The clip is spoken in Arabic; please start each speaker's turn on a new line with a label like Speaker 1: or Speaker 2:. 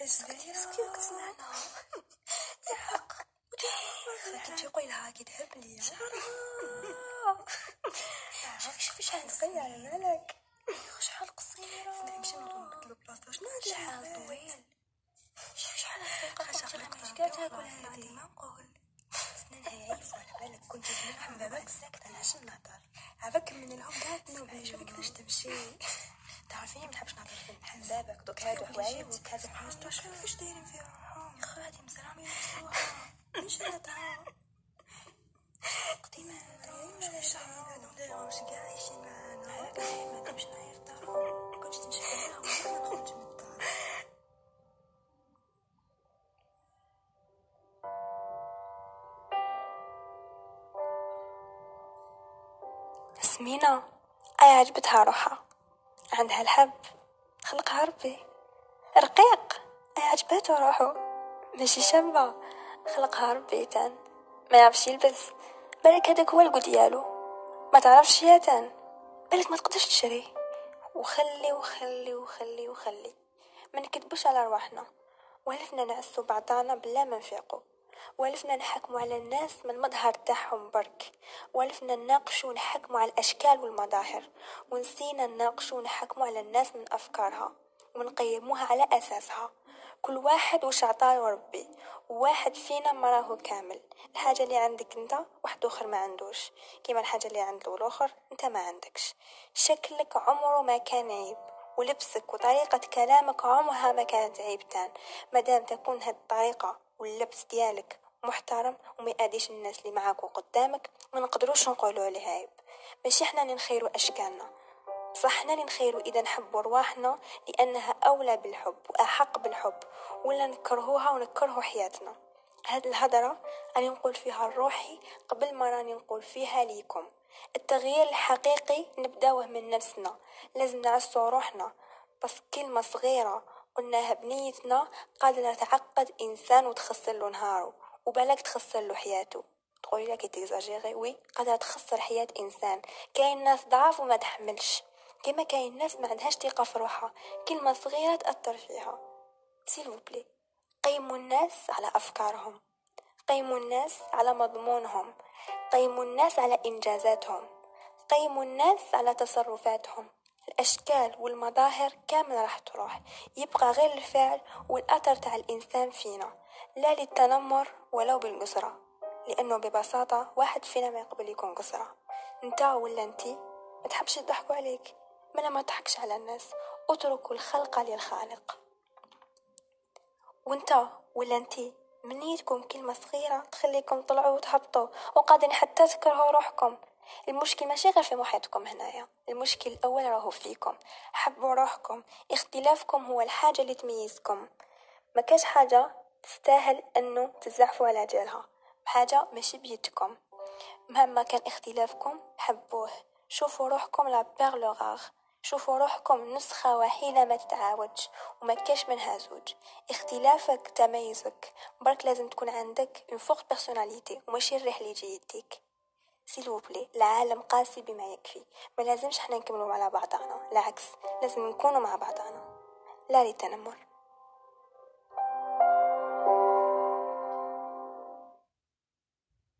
Speaker 1: الزبيرة
Speaker 2: كيف كنت نعنا الحق
Speaker 1: كنت يقول لها كي تهب ليا
Speaker 2: شعرها شوفي شوفي شحال
Speaker 1: نقي على مالك
Speaker 2: شحال قصيرة
Speaker 1: فهمتني مش نوضو نبدلو بلاصتو شنو هاد
Speaker 2: شحال
Speaker 1: العباد؟
Speaker 2: طويل شوفي شحال رقيقة
Speaker 1: خاش
Speaker 2: خاطر
Speaker 1: أخلق
Speaker 2: مانيش
Speaker 1: طربي
Speaker 2: قاعدة تاكل
Speaker 1: وخلاص
Speaker 2: هادي
Speaker 1: بعدي
Speaker 2: ما
Speaker 1: ما
Speaker 2: نقول
Speaker 1: سنانها يعيفو على بالك كنت زمان حبابك ساكتة علاش نهضر عافاك من الهم قاعد تسأل شوفي كيفاش تمشي تعرفيني ما نحبش نهضر في حبابك دوك هادو حوايجك هادو حاجتك
Speaker 2: كيفاش دايرين في روحهم يا خويا هادي مزرعة ما يلبسوها مش هادها قديمة هادي مش مشاعر هادو مدايرهمش كاع عايشين معانا هاكا ما تمشي معايا لدارهم كنت تمشي معاهم ما نخرجش من الدار
Speaker 1: سمينة أي عجبتها روحها عندها الحب خلقها ربي رقيق أي عجبته روحو ماشي شابة خلقها ربي تان ما يعرفش يلبس بالك هذاك هو القو ديالو ما تعرفش يا تان بالك ما تقدرش تشري وخلي وخلي وخلي وخلي ما نكذبوش على رواحنا والفنا نعسو بعضانا بلا ما نفيقو والفنا نحكمو على الناس من المظهر تاعهم برك والفنا نناقشو ونحكمو على الاشكال والمظاهر ونسينا نناقشو ونحكمو على الناس من افكارها ونقيموها على اساسها كل واحد وش عطاه ربي وواحد فينا ما راهو كامل الحاجه اللي عندك انت واحد اخر ما عندوش كيما الحاجه اللي عند الاخر انت ما عندكش شكلك عمره ما كان عيب ولبسك وطريقة كلامك عمرها ما كانت عيب تان مادام تكون هاد الطريقة واللبس ديالك محترم وما يأذيش الناس اللي معاك وقدامك ما نقدروش نقولوا عليه عيب ماشي حنا اللي نخيروا اشكالنا بصح حنا اللي نخيروا اذا نحبوا رواحنا لانها اولى بالحب واحق بالحب ولا نكرهوها ونكرهوا حياتنا هاد الهضره راني نقول فيها لروحي قبل ما راني نقول فيها ليكم التغيير الحقيقي نبداوه من نفسنا لازم نعسو روحنا بس كلمه صغيره قلناها بنيتنا قادرة تعقد إنسان وتخسر له نهاره وبالك تخسر له حياته تقولي لك تيزاجيغي وي قادرة تخسر حياة إنسان كاين ناس ضعاف وما تحملش كما كاين ناس ما عندهاش ثقة في روحها كلمة صغيرة تأثر فيها سيلوبلي قيموا الناس على أفكارهم قيموا الناس على مضمونهم قيموا الناس على إنجازاتهم قيموا الناس على تصرفاتهم الأشكال والمظاهر كامل راح تروح يبقى غير الفعل والأثر تاع الإنسان فينا لا للتنمر ولو بالقسرة لأنه ببساطة واحد فينا ما يقبل يكون قسرة نتا ولا انتي ما تحبش يضحكوا عليك ما ما تضحكش على الناس اتركوا الخلق للخالق وانت ولا انتي منيتكم كلمة صغيرة تخليكم تطلعوا وتهبطوا وقادرين حتى تكرهوا روحكم المشكل ماشي غير في محيطكم هنايا المشكل الأول راهو فيكم حبوا روحكم اختلافكم هو الحاجة اللي تميزكم ما كاش حاجة تستاهل أنه تزعفوا على جالها بحاجة ماشي بيدكم مهما كان اختلافكم حبوه شوفوا روحكم لا بيغ شوفوا روحكم نسخة وحيدة ما تتعاودش وما كاش منها زوج اختلافك تميزك برك لازم تكون عندك اون فورت بيرسوناليتي وماشي الريح اللي يجي يديك سيلوبلي العالم قاسي بما يكفي ما لازمش حنا نكملوا على بعضنا العكس لازم نكونوا مع بعضنا لا للتنمر